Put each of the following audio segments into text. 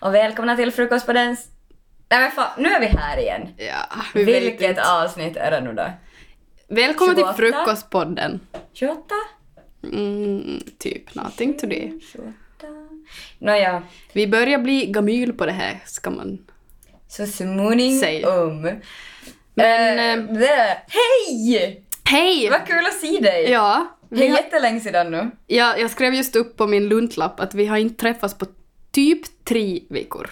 och välkomna till frukost på den... s- Nej men fan, nu är vi här igen. Ja, vi vet Vilket inte. avsnitt är det nu då? Välkommen till 28. Frukostpodden. 28? Mm, typ, nothing to det. 28? Nåja, Vi börjar bli gamyl på det här, ska man... så småningom. Men, Eh, eh, det- Hej! Hej! Vad kul att se dig! Ja, Det vi är har, jättelänge sedan nu. ja, jag skrev just upp på min luntlapp att vi har inte träffats på typ tre veckor.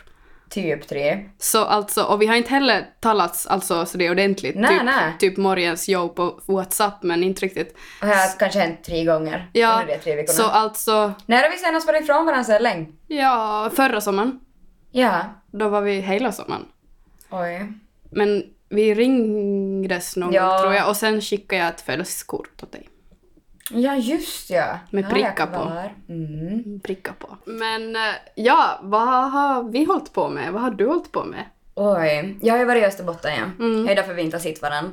Typ tre. Så alltså, och vi har inte heller talats alltså så det är ordentligt. Nej, typ, nej. typ morgens jobb på WhatsApp, men inte riktigt. Och här har kanske hänt tre gånger Ja, under de tre veckorna. så alltså, När har vi senast varit ifrån varandra så här länge? ja, förra sommaren, Ja. då var vi hela sommaren. Oj. Men vi ringdes någon Ja. gång tror jag och sen skickade jag ett födelsedagskort åt dig. Ja, just ja. Med Ja, jag prickar på. kvar. Mm. Pricka på. Men eh, ja, vad har vi hållit på med? Vad har du hållit på med? Oj. Jag har ju varit i Österbotten, ja. Mm. Det är därför vi inte har sett varandra.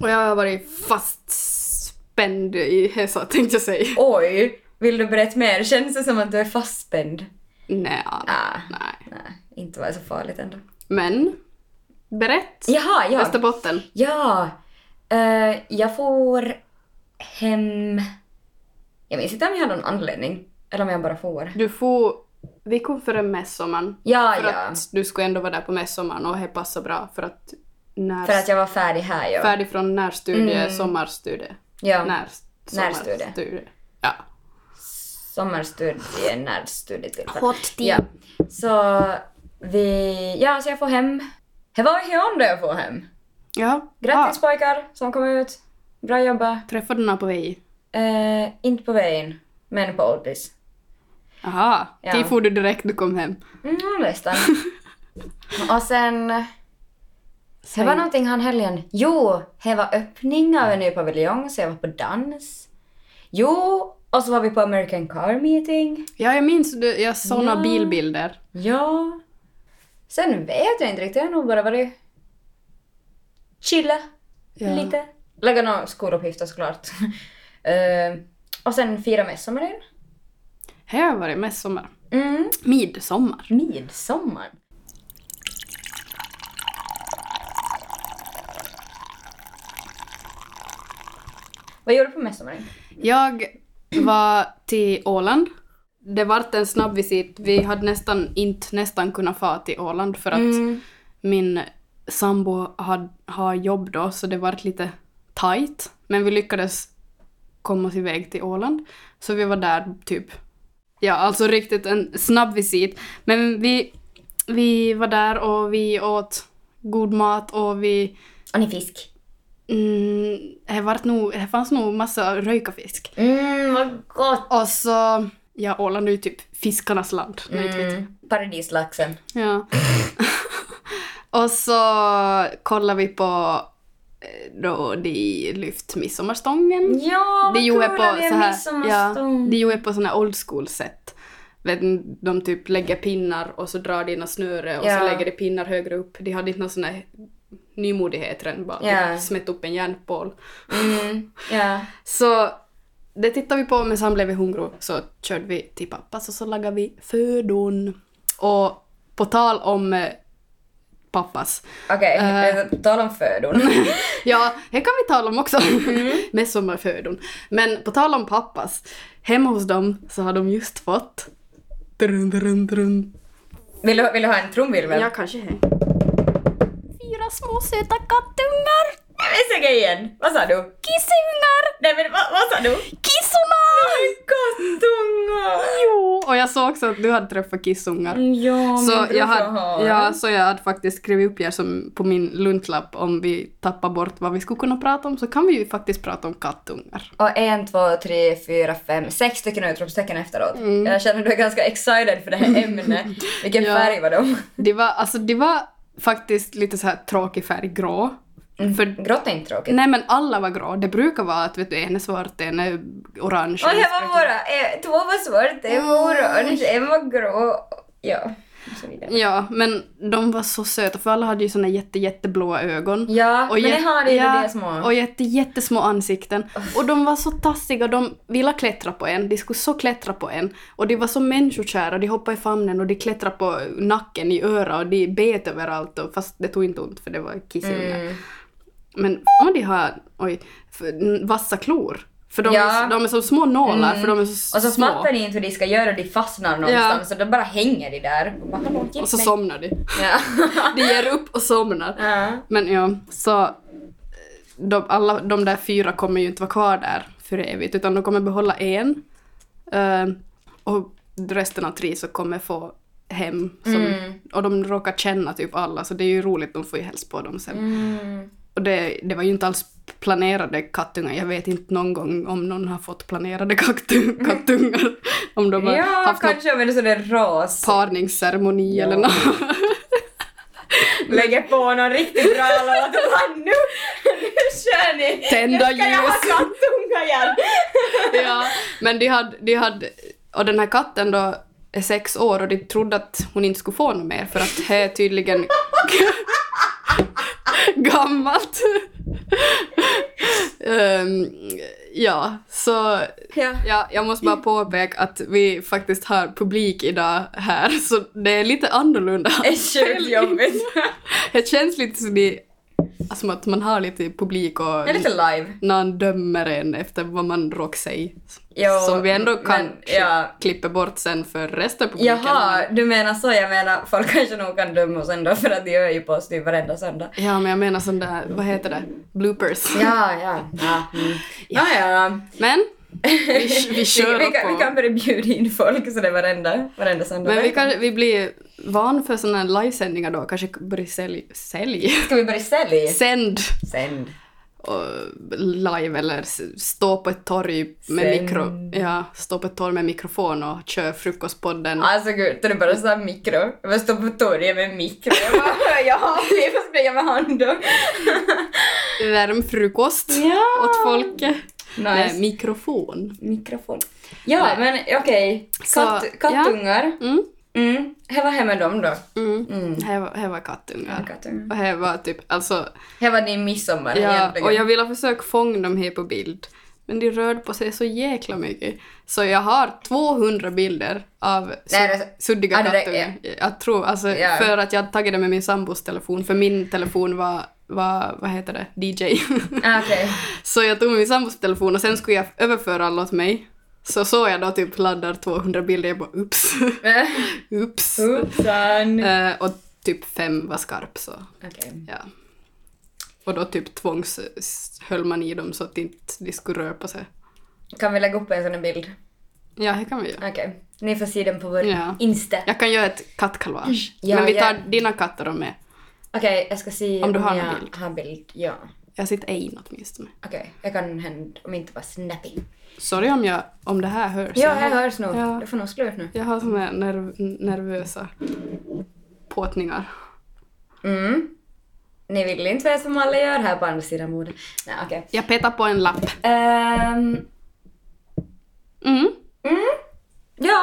Och jag har varit fastspänd i Hesa tänkte jag säga. Oj! Vill du berätta mer? Känns det som att du är fastspänd? Nej, Ah. nej. Nej, inte var det så farligt ändå. Men, berätt. Jaha, ja. Österbotten. Ja. Eh, jag får hem... Jag minns inte om jag har någon anledning. Eller om jag bara får. Du får, vi kom före midsommaren. Ja, för ja. att du skulle ändå vara där på midsommaren och det passar bra för att när, För att jag var färdig här, ja. färdig från närstudie, Mm. sommarstudie. ja. När, Närstudie. sommarstudie. Ja. Sommarstudie, närstudie till. Hot Ja. Så vi... Ja, så jag får hem. Det var i Hyundai jag får hem. Ja. Grattis pojkar som kom ut. Bra jobbat. Ah, träffade några på väg? Eh, inte på vägen, men på Oldies. Aha. Ja. Dit for du direkt du kom hem. Mm, nästan. Och sen... Det Sen- var någonting han helgen. Jo, det var öppning av en ny paviljong, så jag var på dans. Jo, och så var vi på American Car Meeting. Ja, jag minns du, jag såg några Ja. bilbilder. Ja. Sen vet jag inte riktigt, jag har nog bara varit... Chilla Ja. lite. Lägga några skoluppgifter såklart. Eh, och sen fira midsommaren. Här var det midsommar. Mm. Midsommar. Midsommar. Vad gör du på midsommar? Jag var till Åland. Det vart en snabb visit. Vi hade nästan inte nästan kunnat få till Åland för att Mm. min sambo hade, har jobb då, så det vart lite tight. Men vi lyckades komma oss iväg till Åland. Så vi var där typ, ja alltså riktigt en snabb visit. Men vi, vi var där och vi åt god mat och vi, Och ni fisk? mm, det, vart nog, det fanns nog massa röjkafisk. Mm, vad gott! Och så, ja Åland är ju typ fiskarnas land. men inte vet Mm. Paradislaxen. Ja. och så kollar vi på eh, då de lyft midsommarstången. Ja, De gjorde på att det så är här, ja, midsommarstång. de gjorde på såna här old school sätt. Vet ni, De typ lägger pinnar och så drar de in något snöre och Ja. så lägger de pinnar högre upp. De hade inte någon sån här nymodighet än bara Ja. typ smätt upp en järnpål. Mm, ja. Så det tittade vi på men sen blev vi hungriga så körde vi till pappas och så lagade vi födon. Och på tal om eh, pappas. Okej, Eh. eh, tala om födon. Ja, det kan vi tala om också. Med sommarfödon. Men på tal om pappas. Hemma hos dem så har de just fått... Drun, drun, drun. Vill du, vill du ha en trumvirvel? Ja, kanske hej. Fyra små söta kattungar! Nej men säg igen! Vad sa du? Kissungar! Nej men vad, vad sa du? Kissorna! Kattungar! Jo! Och jag såg också att du hade träffat kissungar. Ja, alltså, Så min jag, brorsa hade, ja, så jag hade faktiskt skrivit upp er som på min luntlapp om vi tappar bort vad vi skulle kunna prata om så kan vi ju faktiskt prata om kattungar. Och en, två, tre, fyra, fem, sex stycken utropstecken efteråt. Jag känner att du är ganska excited för det här ämnet. Vilken Mm. Ja. färg var de? Det var, alltså, det var faktiskt lite så här tråkig färg, grå. För, Grått är inte tråkigt. nej men alla var grå. Det brukar vara att vet du, en är svart, en är orange. Och här var våra, eh, två var svart, en var orange, en var grå. Ja. och så vidare. Ja, men de var så söta för alla hade ju såna jätte, jätteblåa ögon. Ja, men det jätte- har det ju ja, det små. Och jätte, jättesmå ansikten. Och de var så tassiga, de ville klättra på en, de skulle så klättra på en. Och de var så människokära, de hoppade i famnen och de klättrade på nacken i öra och de bet överallt och, fast det tog inte ont för det var kissungar. Mm. Men fan vad de har oj, för, n- vassa klor. För de, Ja. Mm. är, de är som små nålar, för de är så, Och så små. fattar ni inte hur de ska göra, de fastnar någonstans och då bara hänger de där. Och, bara, "Hallå, hjälp Och så mig." somnar de. Ja. De ger upp och somnar. ja. Men ja, så eh, de, alla de där fyra kommer ju inte vara kvar där för evigt, utan de kommer behålla en. eh, och resten av tre så kommer få hem. Som, Mm. Och de råkar känna typ alla, så det är ju roligt, de får ju hälsa på dem sen. Mm. Och det, det var ju inte alls planerade kattungar. Jag vet inte någon gång om någon har fått planerade kattu- kattungar. Om de har Ja, haft någon kanske om en sån där ras. parningsceremoni Ja. eller något. Lägger på någon riktigt bra låt och bara nu, nu kör ni! Tända nu ska jag ha ljus. kattungar igen! ja. Men de hade, de hade... Och den här katten då är sex år och de trodde att hon inte skulle få något mer för att det är tydligen gammalt. Ehm, ja, så Ja. Ja, jag måste bara påpeka att vi faktiskt har publik idag här, så det är lite annorlunda. Det är sjukt jobbigt. Det känns lite som, det, som att man har lite publik och Det är lite live. någon dömer en efter vad man råkar säga. Jo, som vi ändå kan men, ja. klippa bort sen för resten av publiken. Jaha, du menar så? Jag menar, folk kanske nog kan döma oss ändå för att de gör ju på oss typ varenda söndag. Ja, men jag menar sån där, vad heter det, bloopers. Ja, ja. ja. Mm. ja, ja. Men vi, vi kör vi, vi, kan, på. vi kan börja bjuda in folk så det är varenda, varenda söndag. men vi, kan, vi blir van för såna här livesändningar då, kanske börja sälja, sälj, Ska vi börja sälja? sänd Sänd. och live eller s- stå på ett torg med, Sen- mikro, ja, stå på ett torg med mikrofon och köra frukostpodden. Alltså gud, det är bara såhär mikro. Jag bara står på torget med mikro. Jag bara, ja, vi får springa med handen. Värm frukost Ja. åt folket. Nice. Nej, mikrofon. Mikrofon. Ja, Nej. men okej. Så, Katt, kattungar. Mm. Mm. Här var hemma dem då. Mm. Mm. Här var, här var kattungar. Kattungar. Och här var typ, alltså, Här var din midsommar ja, egentligen. och jag ville försöka fånga dem här på bild. Men de rörde på sig så jäkla mycket. Så jag har 200 bilder av su- Nej, det- suddiga Ja, det där kattungar. Jag tror, alltså, Ja. för att jag hade tagit det med min sambos telefon, för min telefon var, var vad heter det, DJ. Ah, Okej. så jag tog min sambos telefon och sen skulle jag överföra alla åt mig. Så såg jag då typ laddar 200 bilder, jag bara ups, ups. Hoppsan. Eh, och typ fem var skarp så, Okej. ja. Och då typ tvångs s- höll man i dem så att de inte de skulle röra på sig. Kan vi lägga upp en sån här bild? Ja, det kan vi göra. Okej. Ni får se den på vår Ja. Insta. Jag kan göra ett kattkalvage. Mm. Ja, Men vi tar ja. dina katter då med. Okej, jag ska se Om du har jag någon bild. har bild. Ja. Jag sitter en åtminstone. Okej, jag kan hända om inte bara snappy. Sorry om, jag, om det här hörs. Ja, här hörs nog. Ja. Det får nog slå ut nu. Jag har såna här nerv, nervösa påtningar. Mm. Ni vill inte veta vad alla gör här på andra sidan bordet. Nej, okej. Jag petar på en lapp. Ehm, Mm. ja.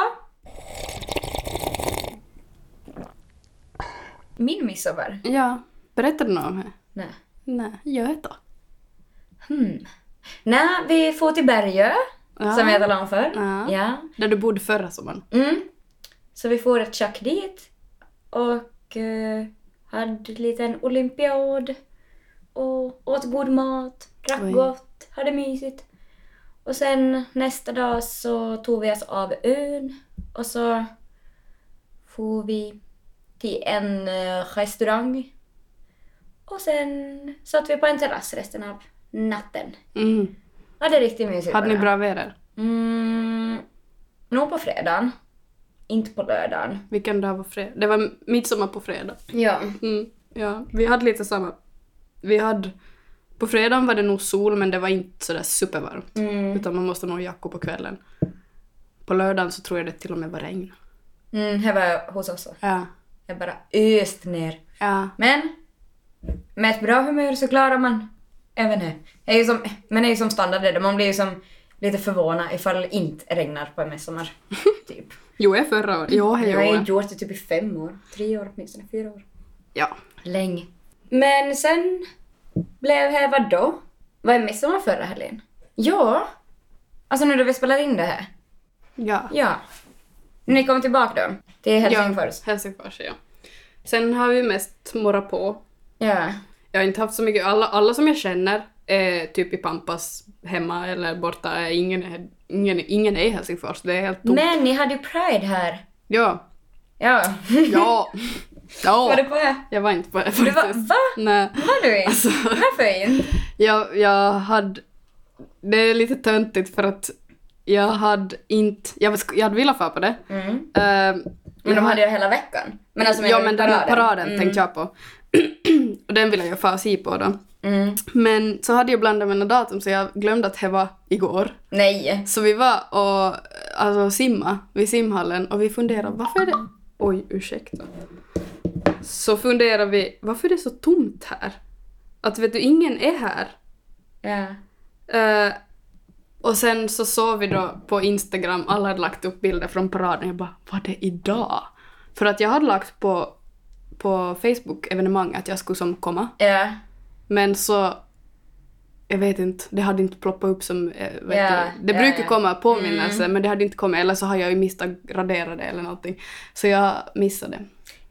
Min midsommar? Ja. Berättar du något om det? Nej. Nej, gör det då. Hmm. Nej, vi får till Bergö, Ja. som jag talade om förr. Ja. ja. Där du bodde förra sommaren. Mm. Så vi får ett tjack dit och eh, hade en liten olympiad och åt god mat, drack Oj. gott, hade mysigt. Och sen nästa dag så tog vi oss av ön och så for vi till en eh, restaurang. Och sen satt vi på en terrass resten av natten. Mm. Hade riktigt mysigt. Hade ni bara. bra väder? Mm, nog på fredagen. Inte på lördagen. Vilken dag var fredag? Det var midsommar på fredag. Ja. Mm. Ja, vi hade lite samma. Vi hade... På fredagen var det nog sol, men det var inte sådär supervarmt. Mm. Utan man måste nog ha jacka på kvällen. På lördagen så tror jag det till och med var regn. Mm, här var jag hos oss. också. Ja. Jag bara öst ner. Ja. Men med ett bra humör så klarar man även det. Det är ju som, men det är ju som standard det. Man blir ju som lite förvånad ifall det inte regnar på en midsommar. Typ. Jo, jag förra året. Jo, Jag har hej inte gjort det typ i fem år. Tre år åtminstone, fyra år. Ja. Länge. Men sen blev det vadå? Vad är midsommar förra helgen? Ja. Alltså nu då vi spelar in det här. Ja. Ja. Ni kom tillbaka då? Till Helsingfors? Ja, Helsingfors, ja. Sen har vi mest morrat på. Ja. Jag har inte haft så mycket, alla, alla som jag känner är typ i Pampas hemma eller borta. Ingen är, ingen, ingen är i Helsingfors, det är helt tomt. Men ni hade ju Pride här. Ja. Ja. Ja. Var du ja. på det? Jag var inte på det Du var, faktiskt. va? Nej. Var du inte? Alltså, Varför inte? jag, jag hade... Det är lite töntigt för att jag hade inte... Jag, sk- jag hade velat fara på det. Mm. Ehm, Men jag de hade ju hela veckan. Men alltså ja, men den här paraden Mm. tänkte jag på. och den ville jag ju fara och se på då. Mm. Men så hade jag blandat mina datum så jag glömde att det var igår. Nej. Så vi var och alltså, simma vid simhallen och vi funderade varför är det... Oj, ursäkta. Så funderade vi varför är det så tomt här? Att vet du, ingen är här. Ja. Eh, och sen så såg vi då på Instagram, alla hade lagt upp bilder från paraden. Jag bara, var det idag? För att jag hade lagt på, på Facebook-evenemang att jag skulle som komma. Ja. Men så, jag vet inte, det hade inte ploppat upp som, eh, vet Ja, du. Det ja, brukar ja. Mm. komma påminnelser men det hade inte kommit. Eller så har jag ju missat radera det eller någonting. Så jag missade.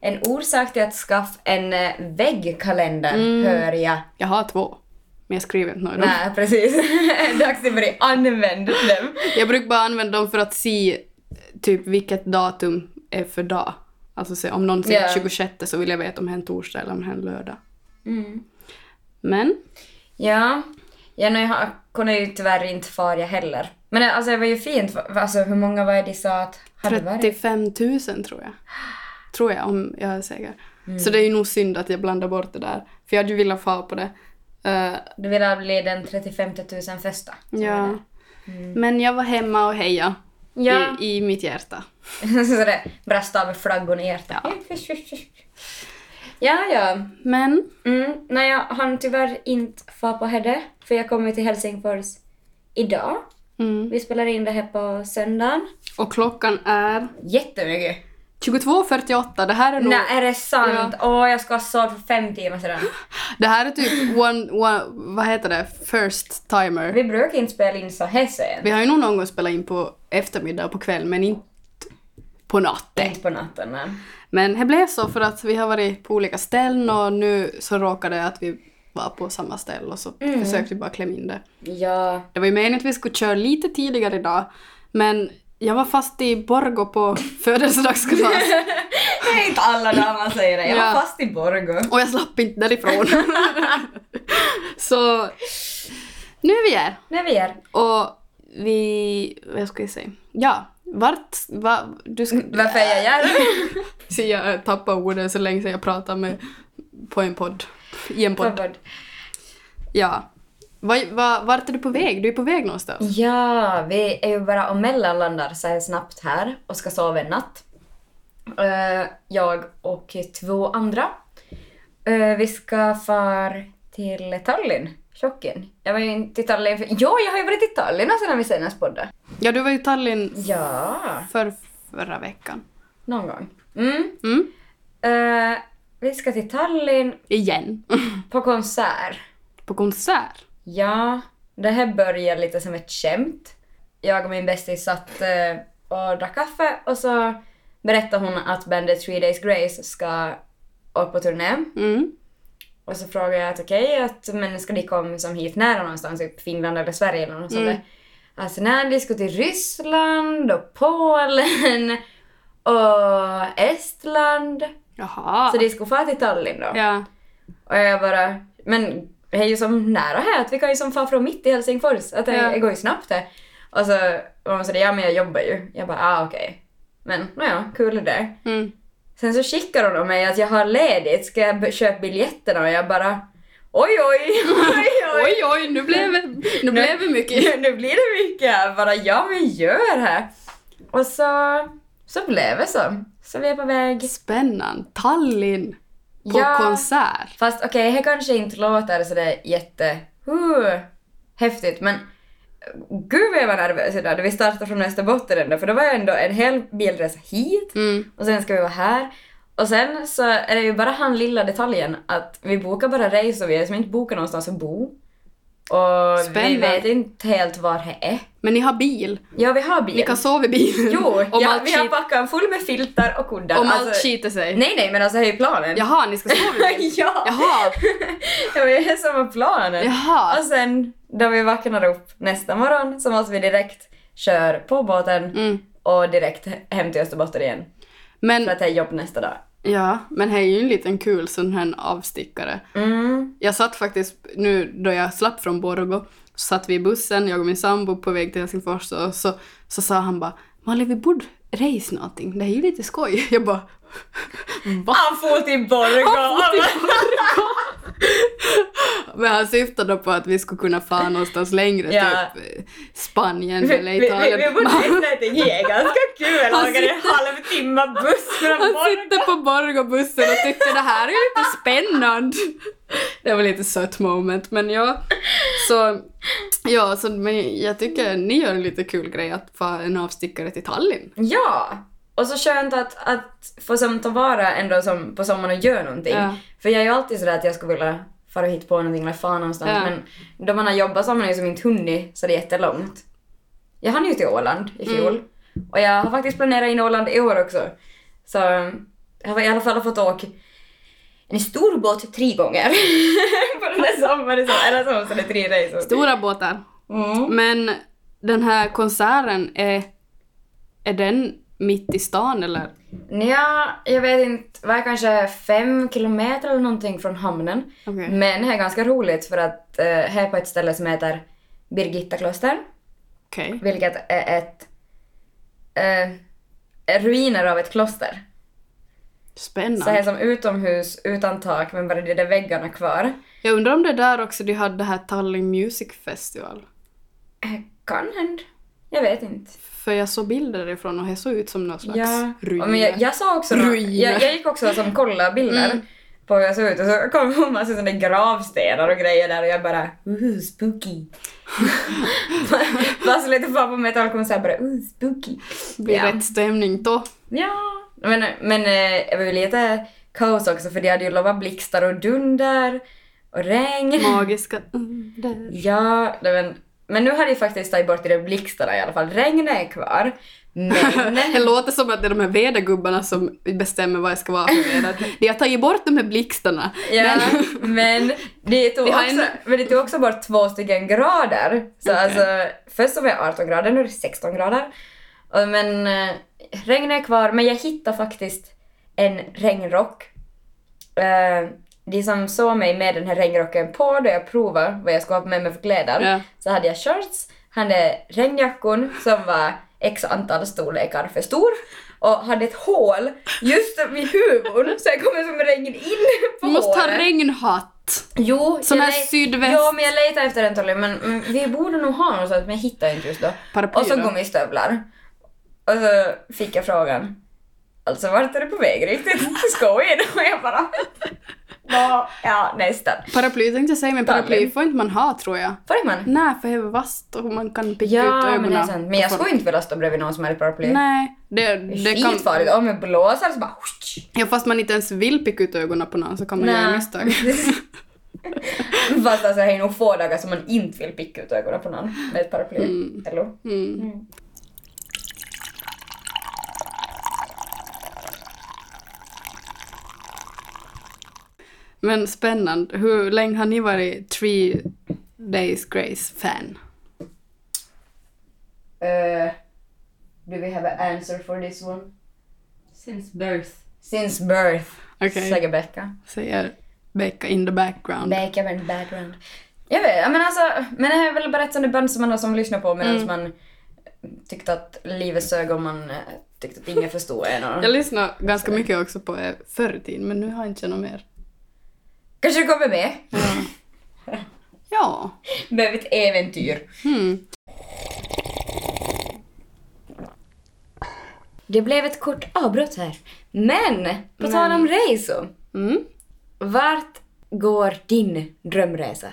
En orsak till att skaffa en eh, väggkalender Mm. hör jag. Jag har två, men jag skriver inte några. Nej, precis. Dags att börja använda dem. Jag brukar bara använda dem för att se typ vilket datum är för dag. Alltså se, om någon säger Ja. 26 så vill jag veta om det är en torsdag eller om det är en lördag. Mm. Men, Ja. ja nu har, kunde ju tyvärr inte fara jag heller. Men eh, alltså det var ju fint. Va- Alltså hur många var det de sa att hade varit? 35 000 tror jag. Tror jag, om jag är säker. Mm. Så det är ju nog synd att jag blandar bort det där. För jag hade ju velat få på det. Eh, Det ville bli den 35 000 första. som var ja. där. Men jag var hemma och heja Mm. Ja. i, i mitt hjärta. Så det brast av med flaggorna i hjärtat. Ja. Ja, ja. Men, Mm, nej, jag hann tyvärr inte fara på Hedde, för jag kommer till Helsingfors idag. mm. Vi spelar in det här på söndagen. och klockan är Jättemycket! 22.48. Det här är nog... Nej, är det sant? Åh, jag ska ha sovit för fem timmar sedan. Det här är typ one, one, vad heter det, first timer. Vi brukar inte spela in så här sent. Vi har ju nog någon gång spelat in på eftermiddag och på kväll men inte på natten. Inte på natten, men. Men det blev så för att vi har varit på olika ställen och nu så råkade det att vi var på samma ställe och så försökte vi bara klämma in det. Ja. Det var ju meningen att vi skulle köra lite tidigare idag men jag var fast i Borgå på födelsedagskalas Det är inte alla dagar man säger det. Jag var Ja. fast i Borgå. och jag slapp inte därifrån. så nu är vi här. När vi är. Och vi... Vad ska jag säga? Ja, vart... Va, du ska, Varför är jag här? Så jag tappar orden så länge sedan jag pratar med... På en podd. I en podd. Ja. Va, va, vart är du på väg? Du är på väg någonstans. Ja, vi är ju bara och mellanlandar så här snabbt här och ska sova en natt. Eh, jag och två andra. Eh, vi ska far till Tallinn, chocken. Jag var ju inte i Tallinn för... Ja, jag har ju varit i Tallinn alltså när vi senast poddade. Ja, du var ju i Tallinn Ja, för förra veckan. någon gång. Mm. Mm. Eh, vi ska till Tallinn Igen. på konsert. på konsert. Ja, det här började lite som ett skämt. Jag och min bästis satt eh, och drack kaffe och så berättade hon att bandet Three Days Grace ska åka på turné. Mm. Och så frågade jag att okej, att, men ska ni komma som hit nära någonstans, typ Finland eller Sverige eller något sånt där? Alltså när de ska till Ryssland och Polen och Estland. Jaha. Så de ska fara till Tallinn då. Ja. Och jag bara, men det är ju som nära här, att vi kan ju som fara från mitt i Helsingfors, att det, Ja. det går ju snabbt här. Och så var hon sådär, ja men jag jobbar ju. Jag bara, ah okej. Men nåja, kul det där. Mm. Sen så skickar hon då mig att jag har ledigt, ska jag b- köpa biljetterna? Och jag bara, oj oj, oj oj. Oj, oj, nu blev det, nu blev det mycket. nu blir det mycket här, bara ja men gör här. Och så, så blev det så. Så vi är på väg. Spännande. Tallinn på Ja. konsert. Fast okej, det kanske inte låter sådär jätte... Uh, häftigt, men Gud vad jag var nervös idag när vi startade från Österbotten ändå, för det var ju ändå en hel bilresa hit Mm. och sen ska vi vara här. Och sen så är det ju bara han lilla detaljen att vi bokar bara resor, vi har liksom inte bokat någonstans att bo. Och vi Spännande. vet inte helt var det är. Men ni har bil. Ja, vi har bil. Ni kan sova i bilen. Jo, om ja, allt, vi har skit, packat full med filtar och kuddar. om allt Alltså, skiter sig. Nej, nej, men alltså det är ju planen. Jaha, ni ska sova i bilen. ja. Jaha, Det var ju det som var planen. jaha. Och sen då vi vaknar upp nästa morgon så måste vi direkt köra på båten Mm. och direkt hem till Österbotten igen. För Men, att jag har jobb nästa dag. ja, men det är ju en liten kul sån här avstickare. Mm. Jag satt faktiskt, nu då jag slapp från Borgå, så satt vi i bussen, jag och min sambo på väg till Helsingfors och så, så sa han bara “Malin, vi borde race någonting, det är ju lite skoj”. Jag bara “Va?” Han for till Borgå! Han for till Men han syftade då på att vi skulle kunna fara någonstans längre, Ja. typ Spanien Vi, eller vi, vi, Italien. vi borde Men han- lyssna till det är ganska kul. Han Han åker en halvtimme buss från Han Borgå. sitter på Borgåbussen och tyckte det här är lite spännande. Det var lite sött moment, men ja. Så, ja, så, men jag tycker ni gör en lite kul grej att vara en avstickare till Tallinn. Ja! Och så skönt att, att få som ta vara ändå som på sommaren och göra någonting. Ja. För jag är ju alltid sådär att jag skulle vilja fara hit på någonting eller fan någonstans Ja. men då man har jobbat så har man liksom inte hunnit så det är jättelångt. Jag hann ju till Åland i fjol Mm. och jag har faktiskt planerat in Åland i år också. Så jag har i alla fall fått åka en stor båt typ tre gånger på den där sommaren. så- Eller så måste det tre resor. Stora båtar. Mm. Men den här konserten, är, är den mitt i stan eller? Ja, jag vet inte, var kanske fem kilometer eller någonting från hamnen. Okej. Men det är ganska roligt för att eh, här på ett ställe som heter Birgitta kloster, Okej. vilket är ett eh, ruiner av ett kloster. Så här Spännande. som utomhus, utan tak, men bara det där väggarna kvar. Jag undrar om det är där också de hade det här Tallinn Music Festival. Eh, Kan hända. Jag vet inte. För jag såg bilder ifrån och det såg ut som någon slags Ja, ruin. men jag, jag sa också nå- Ruiner. jag, jag gick också som kolla bilder Mm. på hur jag såg ut och så kom det en massa sådana gravstenar och grejer där och jag bara uh, spooky. Fast lite fan på metallkonsert bara uh, spooky. blir Ja. rätt stämning då. Ja, men, men eh, det var ju lite kaos också för de hade ju lovat blixtar och dunder och regn. Magiska under. Ja, nej, men, men nu har de faktiskt tagit bort de där blixtarna i alla fall. Regnet är kvar, men Det låter som att det är de här vädergubbarna som bestämmer vad jag ska vara för väder. De har tagit bort de här blixtarna. Ja, Men, men det tog, Vi har också, en- men det tog också bort två stycken grader. Så Okej. alltså, först så var jag 18 grader, nu är det 16 grader. Och, men eh, regnet är kvar, men jag hittade faktiskt en regnrock. Eh, de som såg mig med den här regnrocken på då jag provade vad jag skulle ha med mig för kläder Ja. så hade jag shorts, hade regnjackon som var x antal storlekar för stor och hade ett hål just vid huvud så jag kommer som regn in på du måste ha hålet. regnhatt. Jo, Sån jag här le- sydväst. Jo, men jag letar efter en Tolly, men mm, vi borde nog ha något sånt, men jag hittar inte just då. Paraply Och så då? gummistövlar. Och så fick jag frågan. Alltså vart är du på väg riktigt? Skojar du? Och jag bara... "Nå, Ja, nästan. Paraply tänkte jag säga, men paraply Tallinn. får inte man ha tror jag. Får man? Nej, för det är vasst och man kan picka ut Ja, ögonen. men det är sant. Men jag på folk. skulle inte vilja stå bredvid någon som hade paraply. Nej, det, Det det är kan... skitfarligt. Om jag blåser så bara... Ja, fast man inte ens vill picka ut ögonen på någon så kan man göra misstag. Fast alltså, det är nog få dagar som man inte vill picka ut ögonen på någon med ett paraply. Eller? Mm. Men spännande. Hur länge har ni varit Three Days Grace-fan? Uh, do we have an answer for this one? Since birth. Since birth, Okej. säger Becka. Säger Becka in the background. Becka med background. Jag vet, men alltså, men det här är väl bara ett sånt där band som man har som lyssnar på Mm. medan man tyckte att livet sög och man eh, tyckte att ingen förstod en. jag Och... lyssnade ganska mycket också på er förr i tiden, men nu har jag inte något mer. Kanske du kommer med? Ja. Behöver ett äventyr. Hmm. Det blev ett kort avbrott här. Men, på tal om resor. Mm. Vart går din drömresa?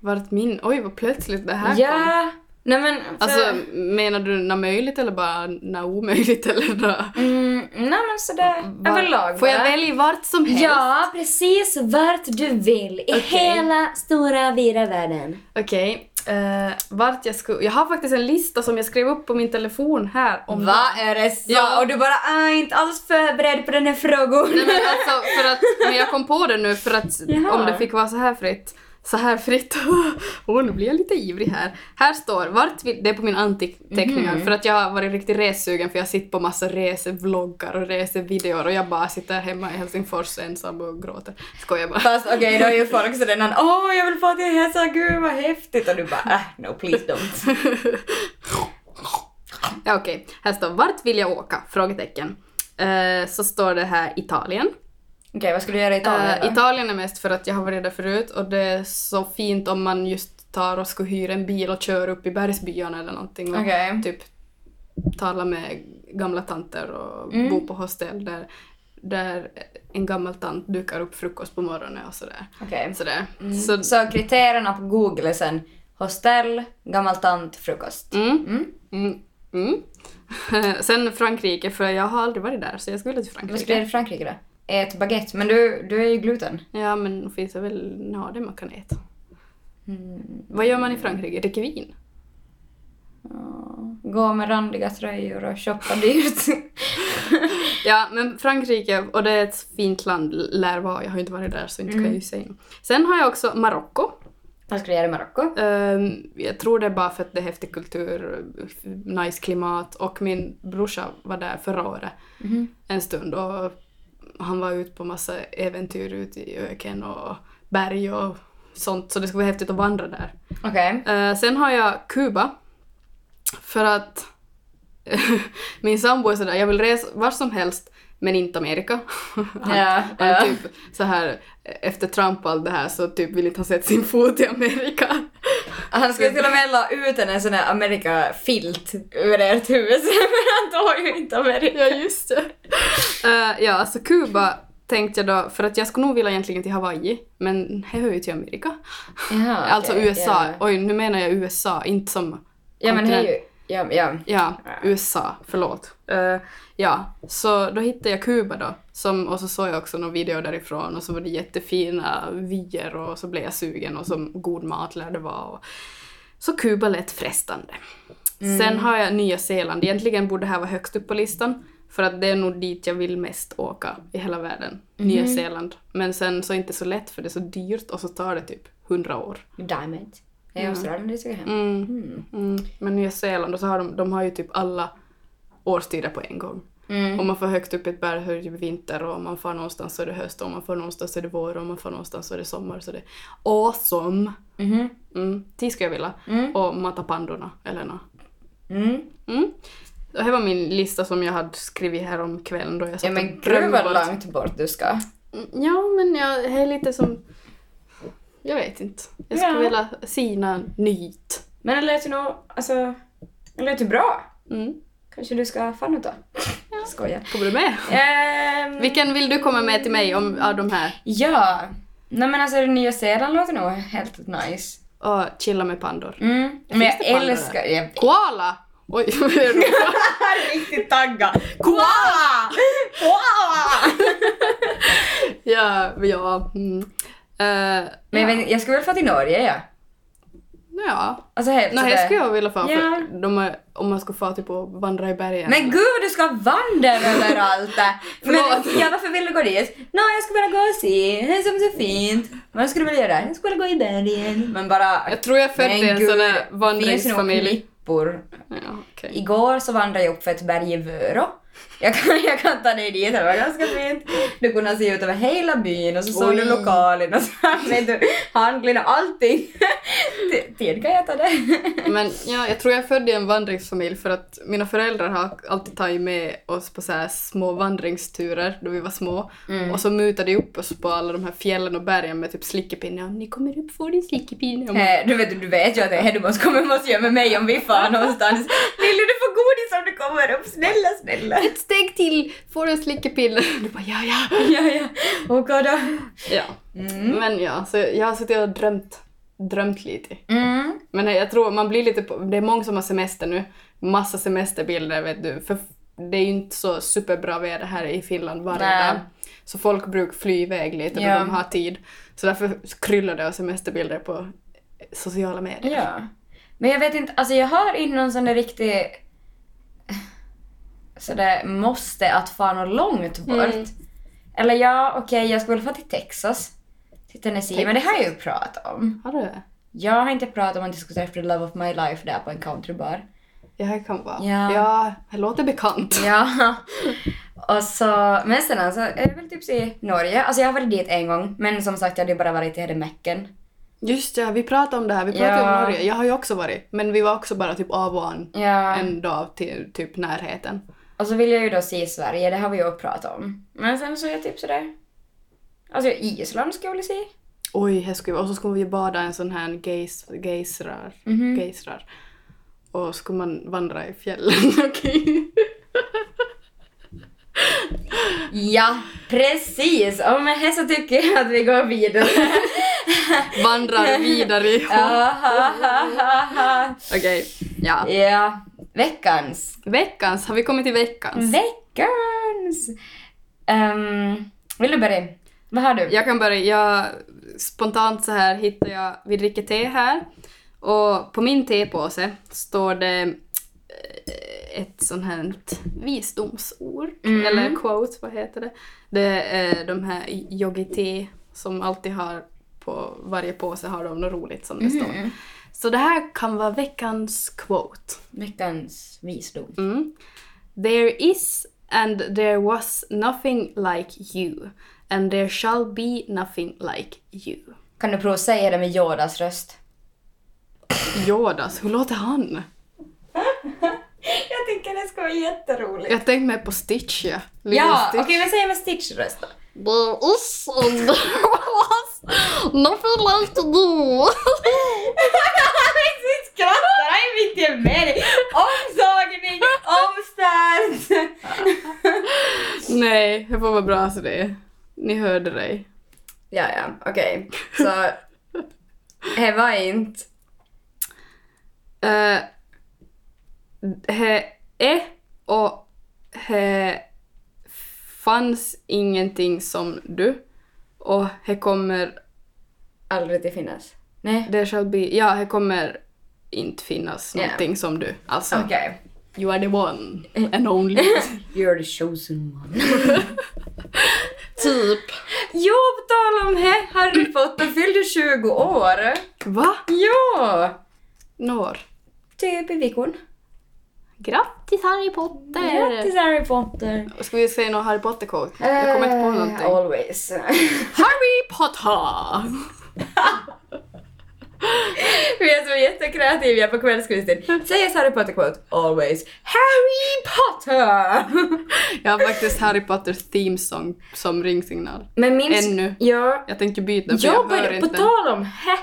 Vart min... Oj, vad plötsligt det här kom. Ja, Nej men... För, Alltså menar du när möjligt eller bara när omöjligt eller när... mm, nej men sådär överlag Får jag bara. välja vart som helst? Ja, precis vart du vill i hela stora vida världen. Okej. eh, vart jag skulle... Jag har faktiskt en lista som jag skrev upp på min telefon här om Va, är det så? Ja. Och du bara ah, inte alls förberedd på den här frågan. Nej, men alltså, för att, men jag kom på det nu för att Jaha. om det fick vara så här fritt. Så här fritt. Åh, nu blir jag lite ivrig här. Här står vart vill, det är på min anteckningar för att jag har varit riktigt ressugen för jag sitter på massa resevloggar och resevideor och jag bara sitter hemma i Helsingfors ensam och gråter. Skojar bara. Fast okej, då är ju folk så redan åh jag vill få till Hesa, gud vad häftigt och du bara ah, no please don't. Ja, okej. Här står vart vill jag åka? Frågetecken. Eh, så står det här Italien. Okej, vad skulle du göra i Italien Eh, då? Italien är mest för att jag har varit där förut och det är så fint om man just tar och ska hyra en bil och kör upp i bergsbyarna eller någonting och Okej. typ tala med gamla tanter och Mm. bo på hostel där, där en gammal tant dukar upp frukost på morgonen och sådär. Okej. sådär. Mm. Så, Så kriterierna på Google är sen hostell, gammal tant, frukost. mm, Mm. mm, mm. Sen Frankrike, för jag har aldrig varit där så jag skulle till Vad skulle du Frankrike. göra i Frankrike då? Ät baguette, men du, du är ju gluten. Ja men finns det väl, ja det man kan äta. Mm. Vad gör man i Frankrike? Dricker vin? Gå med randiga tröjor och shoppa dyrt. Ja, men Frankrike, och det är ett fint land, lär vara. Jag har ju inte varit där så inte kan jag ju säga något. Sen har jag också Marocko. Vad skulle du göra i Marocko? Ehm, jag tror det är bara för att det är häftig kultur, nice klimat och min brorsa var där förra året en stund och han var ute på massa äventyr ute i öken och berg och sånt så det skulle vara häftigt att vandra där. Okej. Eh, sen har jag Kuba. För att min sambo är sådär, jag vill resa var som helst men inte Amerika. han, Ja, han ja. typ så här efter Trump och allt det här så typ vill inte ha sett sin fot i Amerika. Han skulle till och med la ut en sån här Amerika-filt över ert hus, men han tog ju inte Amerika. ja, just det. Eh, ja, alltså Kuba tänkte jag då, för att jag skulle nog vilja egentligen till Hawaii, men det hör ju till Amerika. Jaha, Ah, okej, alltså USA, ja. oj nu menar jag USA, inte som Ja men det är kontinent. ju... Ja, ja. Ja, Ja. USA, förlåt. Eh, ja, så då hittade jag Kuba då. Som, och så såg jag också någon video därifrån och så var det jättefina vyer och så blev jag sugen och så god mat lär det vara. Och, så Kuba lät frestande. Sen har jag Nya Zeeland. Egentligen borde det här vara högst upp på listan för att det är nog dit jag vill mest åka i hela världen. Nya Zeeland. Men sen så är det inte så lätt för det är så dyrt och så tar det typ hundra år. Diamond. Det är Australien du ska hem. Mm. Mm. Mm. Men Nya Zeeland, och så har de, de har ju typ alla årstider på en gång. Mm. Om man får högt upp i ett berg så är det typ vinter och om man får någonstans så är det höst och om man får någonstans så är det vår och om man får någonstans så är det sommar. Så det är awesome! Mhm. Mm. Dit skulle jag vilja. Mm. Och mata pandorna, eller nå. Mm. Mm. Det här var min lista som jag hade skrivit här om kvällen då jag satt Ja men och gud drömde vad bort. långt bort du ska. Mm, Ja, men jag det är lite som... Jag vet inte. Jag skulle Ja. vilja sina nyt. Men det lät ju nog, alltså, det lät ju bra. Mm. Kanske du ska fan ut då? Skojar. Kommer du med? Ehm, Mm. Vilken vill du komma med till mig om, av de här? Ja. Nej men alltså Nya Zeeland låter nog helt nice. Och chilla med pandor. Mm. Men jag det pandor där? älskar... Jag Koala! Oj, vad är det? är riktigt taggad. Koala! Koala! ja, ja. Mm. Eh, Men jag, vet, jag skulle väl få till Norge ja. ja. Alltså helt Nå, sådär. här skulle jag vilja fara Ja. för de är, om man skulle fara typ och vandra i bergen. Men gud, du ska vandra överallt! Men Förlåt. ja, varför vill du gå dit? Nå, jag ska bara gå och se, det är som så fint. Vad ska du vilja göra? Jag ska bara gå i bergen. Men bara... jag tror jag födde men en sån gud, där Det finns vandringsfamilj. nog klippor. Ja, okej. Igår så vandrade jag upp för ett berg i Vörå. Jag kan, jag kan ta dig dit, det var ganska fint. Du kunde se ut över hela byn och så såg du Oj. lokalen och så vet du, handlin och allting. Ti- Tid kan jag ta det. Men ja, jag tror jag födde en vandringsfamilj för att mina föräldrar har alltid tagit med oss på så här små vandringsturer då vi var små. Och så mutade de upp oss på alla de här fjällen och bergen med typ slickepinne. Om ni kommer upp får ni slickepinne. Och man- Eh, Du vet, du vet ju att eh, du måste komma måste göra med mig om vi far någonstans. Lille du får godis om du kommer upp, snälla snälla. ett steg till får du en slickepinne. Du bara ja, ja. Ja, ja. Okej då. ja. Mm. Men ja, så jag har suttit och drömt. drömt lite. Mm. Men jag tror man blir lite på, det är många som har semester nu, massa semesterbilder vet du, för det är ju inte så superbra väder här i Finland varje Nej. dag. Så folk brukar fly iväg lite när Ja. de har tid. Så därför kryllar det av semesterbilder på sociala medier. Ja. Men jag vet inte, alltså jag har inte någon sån där riktig sådär måste att fara något långt bort. Mm. Eller ja, okej jag skulle få till Texas. Till Tennessee, men det har jag ju pratat om. Har du det? Jag har inte pratat om att jag skulle träffa the love of my life där på en countrybar. Jag kan vara. Ja. ja, det låter bekant. Ja. Och så, men sen alltså, jag vill typ se Norge. Alltså jag har varit dit en gång, men som sagt jag hade ju bara varit i Hedemäcken. Just ja, vi pratade om det här, vi pratade Ja. om Norge. Jag har ju också varit, men vi var också bara typ av och an Ja. en dag till typ närheten. Och så vill jag ju då se Sverige, det har vi ju också pratat om. Men sen så är jag typ sådär... Alltså Island skulle jag vilja se. Oj, här skulle, och så skulle vi bada i en sån här geis, geisrar, Mhm. geisrar. Och så skulle man vandra i fjällen. Okej. Ja, precis! Ja men här så tycker jag att vi går vidare. Vandrar vidare i Ja, ha, ha, ha, ha. Okej, ja. ja, veckans. Veckans, har vi kommit till veckans? Veckans! Ehm, vill du börja? Vad har du? Jag kan börja, jag, spontant så här hittar jag, vi dricker te här. Och på min tepåse står det eh, ett sånt här visdomsord, Mm. eller quote, vad heter det? Det är de här yogi te som alltid har på varje påse har de något roligt som det står. Mm. Så det här kan vara veckans quote. Veckans visdom. Mm. There is and there was nothing like you and there shall be nothing like you. Kan du prova säga det med Jordas röst? Jordas, hur låter han? Jag tycker det ska vara jätteroligt. Jag tänkte mer på Stitch ja. Lilla Ja, okej Stitch. men säg med Stitch röst då. There is and there was nothing like you. Alexis skrattar, han är mitt i mig. Omsagning, omstart. Nej, det får vara bra så det är. Ni hörde dig. Ja, ja, okej. Så, det var inte... Eh, he är och he fanns ingenting som du. Och he kommer, Aldrig till finnas. Nej. there shall be, ja he kommer inte finnas Ja. någonting som du. Alltså, Okej. Eh. you are the one and only. You're the chosen one. typ. Jo, på tal om det, Harry Potter fyllde 20 år. Va? Ja! Når. Typ i veckan. Grattis Harry Potter! Grattis Harry Potter. Ska vi säga någon Harry Potter-quote? Jag kommer inte på Eh, någonting. Always. Harry Potter! Vi är så jättekreativa på kvällskvisten. Säg Harry Potter-quote. Always. Harry Potter! Jag har faktiskt Harry Potters theme song som ringsignal. Men minns... Ännu. Ja. Jag tänker byta för jag, Jag hör började, på inte. tal om hä.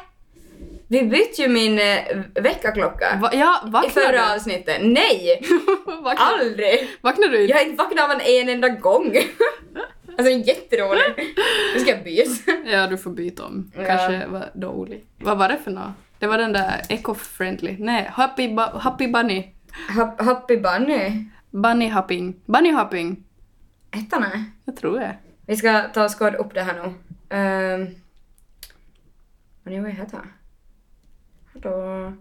Vi bytte ju min eh, veckaklocka. Va, ja, I vaknar förra du? avsnittet. Nej! vaknar, Aldrig! vaknar du? Jag har inte vaknat av den en enda gång. Alltså jätterolig. Nu ska jag byta. Ja, du får byta om. Ja. Kanske var dålig. Vad var det för något? Det var den där eco-friendly. Nej, happy, bu- happy bunny. Ha- Happy Bunny. Bunny hopping. Bunny hopping. Hette han det? Jag tror det. Vi ska ta och skåda upp det här nu. Um, vad gör jag här då? Hallå?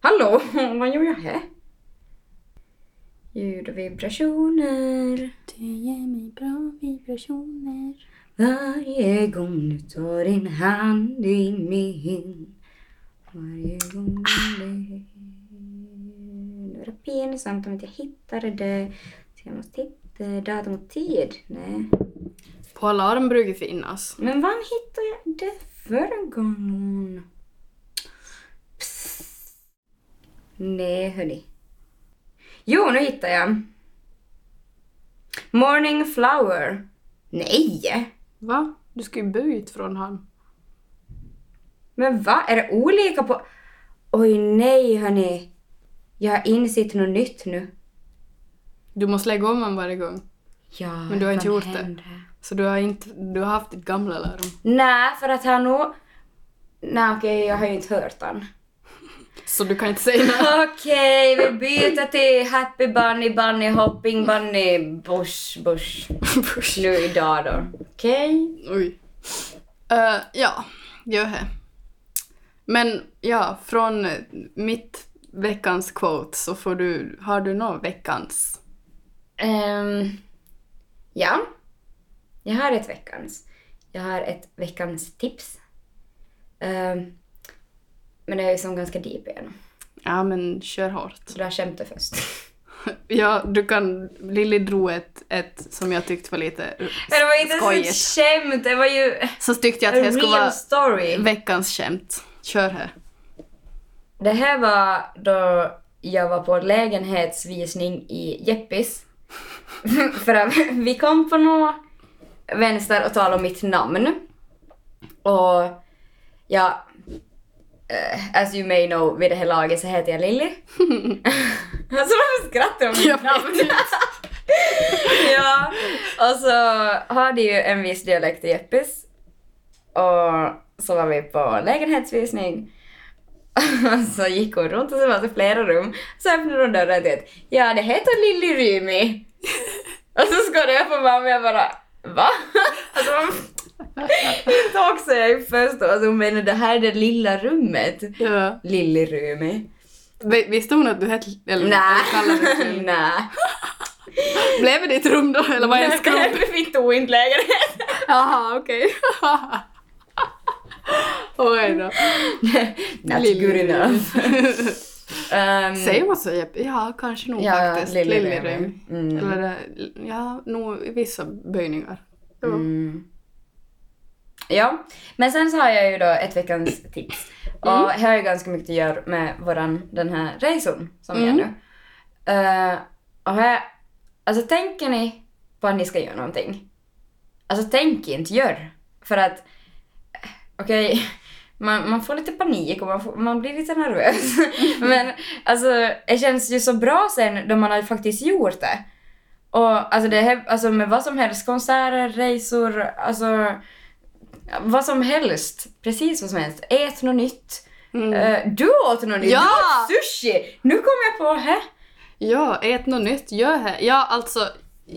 Hallå? Vad gör jag här? Ljud och vibrationer Du ger mig bra vibrationer. varje gång du tar din hand i min. Varje gång det... Nu är det pinsamt om inte jag hittade det. Så jag måste hitta datum och tid. Nej. På alarm brukar finnas. Men var hittade jag det förra gången? Psst. Nej, hörni. Jo, nu hittar jag. Morning flower. Nej! Va? Du ska ju byta från han. Men va? Är det olika på... Oj, nej hörni. Jag har insett något nytt nu. Du måste lägga om honom varje gång. Ja, Men du har inte vad gjort det. hände? Så du har, inte, du har haft ditt gamla lärom. Nej, för att han nog... Nej okej, jag har ju inte hört den. Så du kan inte säga nej. Okej, vi byter till Happy Bunny, Bunny Hopping, Bunny Bush, Bush. Nu idag då. Okej. Oj. Eh, ja, gör det. Men ja, från mitt veckans quote så får du, har du någon veckans? Ehm, ja. Jag har ett veckans. Jag har ett veckans tips. Ehm, men det är ju som ganska deep igen. Ja, men kör hårt. Så du har skämtet först. Ja, du kan, Lilly drog ett, ett som jag tyckte var lite Men det var inte ens ett skojigt. skämt, det var ju Så tyckte jag att en det real skulle vara story. veckans skämt. Kör här. Det här var då jag var på lägenhetsvisning i Jeppis. För att vi kom på något vänster och talade om mitt namn. Och ja, eh, as you may know vid det här laget så heter jag Lilly. alltså varför skrattar de Jag mitt vet namn? ja, och så har det ju en viss dialekt i Jeppis. Och så var vi på lägenhetsvisning. så gick hon runt och så var det flera rum. Så öppnade hon dörren till ett Ja, det heter Lilly Rymi. och så skådade jag på mamma och jag bara Va? alltså, man... Inte också jag ju först då. Alltså, hon menar det här är det lilla rummet. Ja. Lilly Rymi. Vi- Visste hon att du hette... Eller, Nä. eller kallade dig till- Nä. Blev det ditt rum då? Eller var det en skrubb? Vi tog inte lägenhet. Jaha, okej. Oj då. Mm. Not good enough. Um, Säger man så Jeppe? Ja, kanske nog ja, faktiskt. Lilly Lilly Rym. Mm. Eller, eh, ja, nog i vissa böjningar. Ja. Mm. Ja, men sen så har jag ju då ett veckans tips. Och det har ju ganska mycket att göra med våran, den här resan som vi gör Mm. nu. Eh, och här, alltså tänker ni på att ni ska göra någonting? Alltså tänk inte, gör! För att, eh, okej, man, man får lite panik och man, får, man blir lite nervös. men alltså det känns ju så bra sen då man har faktiskt gjort det. Och alltså, det här, alltså med vad som helst, konserter, resor, alltså vad som helst, precis vad som helst. Ät något nytt. Mm. Eh, du åt något nytt, Ja! du åt sushi! Nu kom jag på här. Ja, ät något nytt, gör här. Ja, alltså,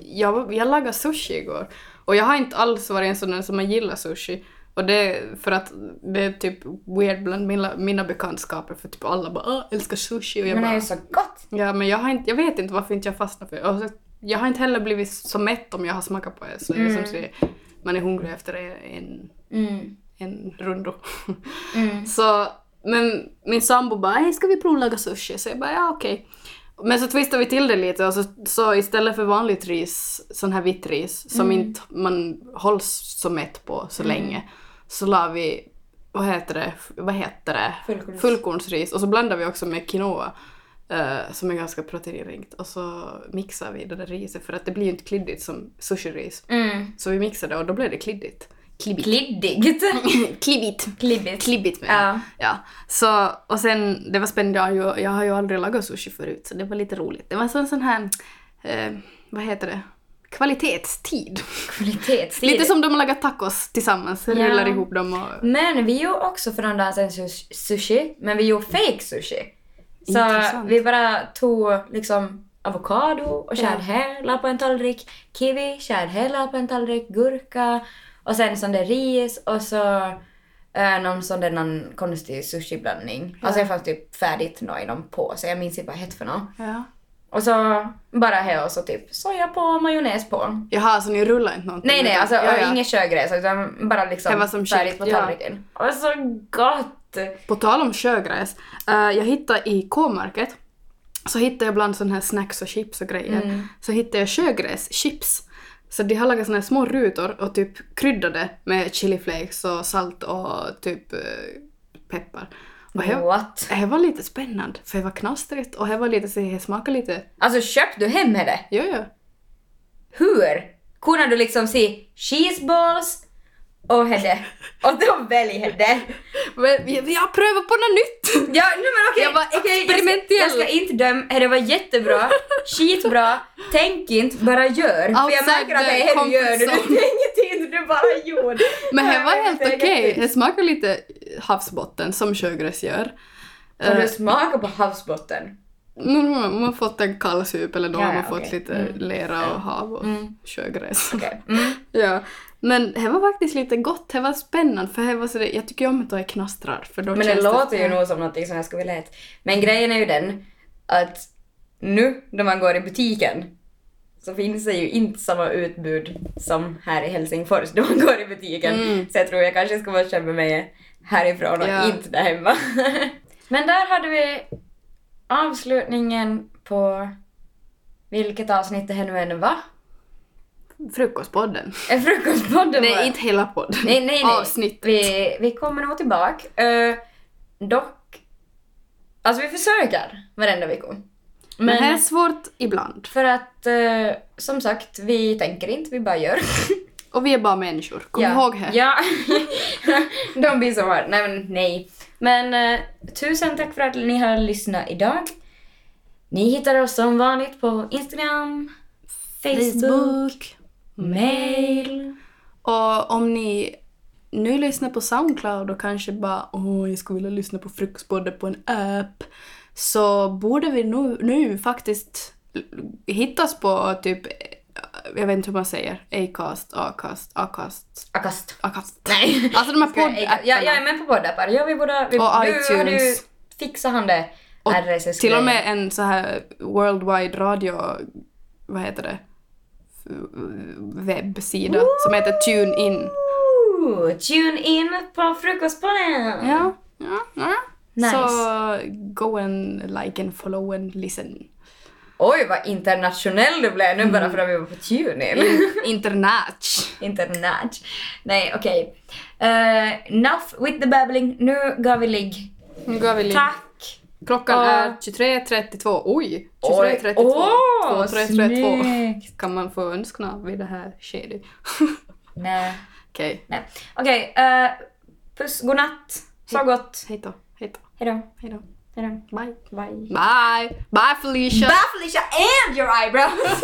jag, jag lagade sushi igår. Och jag har inte alls varit en sån där som man gillar sushi. Och det är för att det är typ weird bland mina, mina bekantskaper för typ alla bara "Åh, älskar sushi och jag Men det är bara ju så gott. Ja, men jag, har inte, jag vet inte varför inte jag fastnar för det. Och så- Jag har inte heller blivit så mätt om jag har smakat på det. Så det är som säger, man är hungrig efter en, Mm. en rundo. Mm. så, men min sambo bara hej ska vi provlaga sushi?” Så jag bara ja okej. Men så twistade vi till det lite och så, så istället för vanligt ris, sån här vitt ris som inte man hålls så mätt på så länge, så la vi, vad heter det, vad heter det? Fullkorns. fullkornsris och så blandar vi också med quinoa eh, som är ganska proteinrikt och så mixar vi det där riset för att det blir ju inte kliddigt som sushiris. Mm. Så vi mixade och då blev det kliddigt. Klibbigt. Kliddigt. Klibbigt. Klibbigt. Klibbigt menar jag. Ja. Ja. Så, och sen, det var spännande, jag har ju- jag har ju aldrig lagat sushi förut så det var lite roligt. Det var en sån, sån här, eh, vad heter det, kvalitetstid. Kvalitetstid. Lite som de har lagat tacos tillsammans, Ja. rullar ihop dem och... Men vi gjorde också för den dansen sus- sushi, men vi gjorde fake sushi. Så Intressant. vi bara tog liksom avokado och skär här, la på en tallrik, kiwi, skär här, la på en tallrik, gurka och sen sån där ris och så eh, någon sån där någon konstig sushiblandning. Och sen fanns typ färdigt nå i någon påse, jag minns inte vad det hette för någon. Ja. Och så bara här och så typ soja på och majonnäs på. Jaha, så alltså, ni rullar inte någonting? Nej nej, utan- alltså Ja, ja. inget körgräs utan bara liksom Det var som färdigt chips, på ja. tallriken. Och så gott! På tal om sjögräs, eh, jag hittade i K-market, så hittade jag bland sån här snacks och chips och grejer, Mm. så hittade jag sjögräschips. Så de har lagat såna här små rutor och typ kryddade med chiliflakes och salt och typ eh, peppar. Och det- What? det var lite spännande, för det var knastrigt och det var lite så det smakade lite... Alltså köpte du hem det? Ja, ja. Hur? Kunde du liksom se cheeseballs och henne. Och de väljer henne. Men jag, jag prövar på något nytt! Ja, nej men okej. Jag var okej, experimentell. Jag ska, jag ska inte döma. Det var jättebra. Skitbra. Tänk inte, bara gör. För jag Outside märker att det the är det du gör. Du comfort zone. tänker inte, du bara gjorde. Men det Nej, var jag helt tänker okej. inte. Det smakar lite havsbotten som sjögräs gör. Har Eh, du smakat på havsbotten? Nu har man- man har fått en kallsup eller då Ja, har man ja, fått okej. lite Mm. lera och hav och Mm. sjögräs. Okej. Mm. Ja. Men det var faktiskt lite gott, det var spännande för det var så det, jag tycker ju om att det knastrar för då Men det känns låter ju nog som någonting som jag skulle vilja äta. Men grejen är ju den att nu när man går i butiken så finns det ju inte samma utbud som här i Helsingfors då man går i butiken. Mm. Så jag tror jag kanske ska bara köpa mig härifrån och Ja. inte där hemma. Men där hade vi avslutningen på vilket avsnitt det här nu än var. Frukostpodden. Eh, Frukostpodden var Nej, inte hela podden. Nej, nej, nej. Avsnittet. Vi, vi kommer nog tillbaka. Eh, dock... Alltså vi försöker varenda vecka. Men, det är Men svårt ibland. för att eh, som sagt, vi tänker inte, vi bara gör. Och vi är bara människor, kom ja. ihåg det. Ja. Don't be so hard. Nej, men nej. Men eh, tusen tack för att ni har lyssnat idag. Ni hittar oss som vanligt på Instagram, Facebook, mail. Och om ni nu lyssnar på Soundcloud och kanske bara åh, jag skulle vilja lyssna på Frukostpodden på en app så borde vi nu, nu faktiskt hittas på typ, jag vet inte hur man säger, Acast, Acast, Acast, Akast. Acast. Nej. Alltså de här Ska jag- poddapparna. Ja, jag är med på poddappar. Ja, vi borde, vi, Och du, Har du, iTunes. fixar han det? Och RSS Till och med en så här worldwide radio, vad heter det, webbsida som heter TuneIn. Ooh, Tune in på frukostpodden! Ja, ja, ja. Nice. Så go and like and follow and listen. Oj, vad internationell du blev nu Mm. bara för att vi var på Tune in. Internach. Internat. Nej, okej. Eh, enough with the babbling. Nu går vi ligg. Nu går vi lite. Tack! Klockan Ja. är 23.32. Oj! Oj, 23.32. åh, 23.32. snyggt. Kan man få önskna vid det här skedet? Nej. Okej. nej. Okej, eh, puss, godnatt. Så gott. Hej då. Hej då. Hejdå. Hej då. Hejdå. Bye. Bye. Bye. Bye Felicia. Bye Felicia and your eyebrows!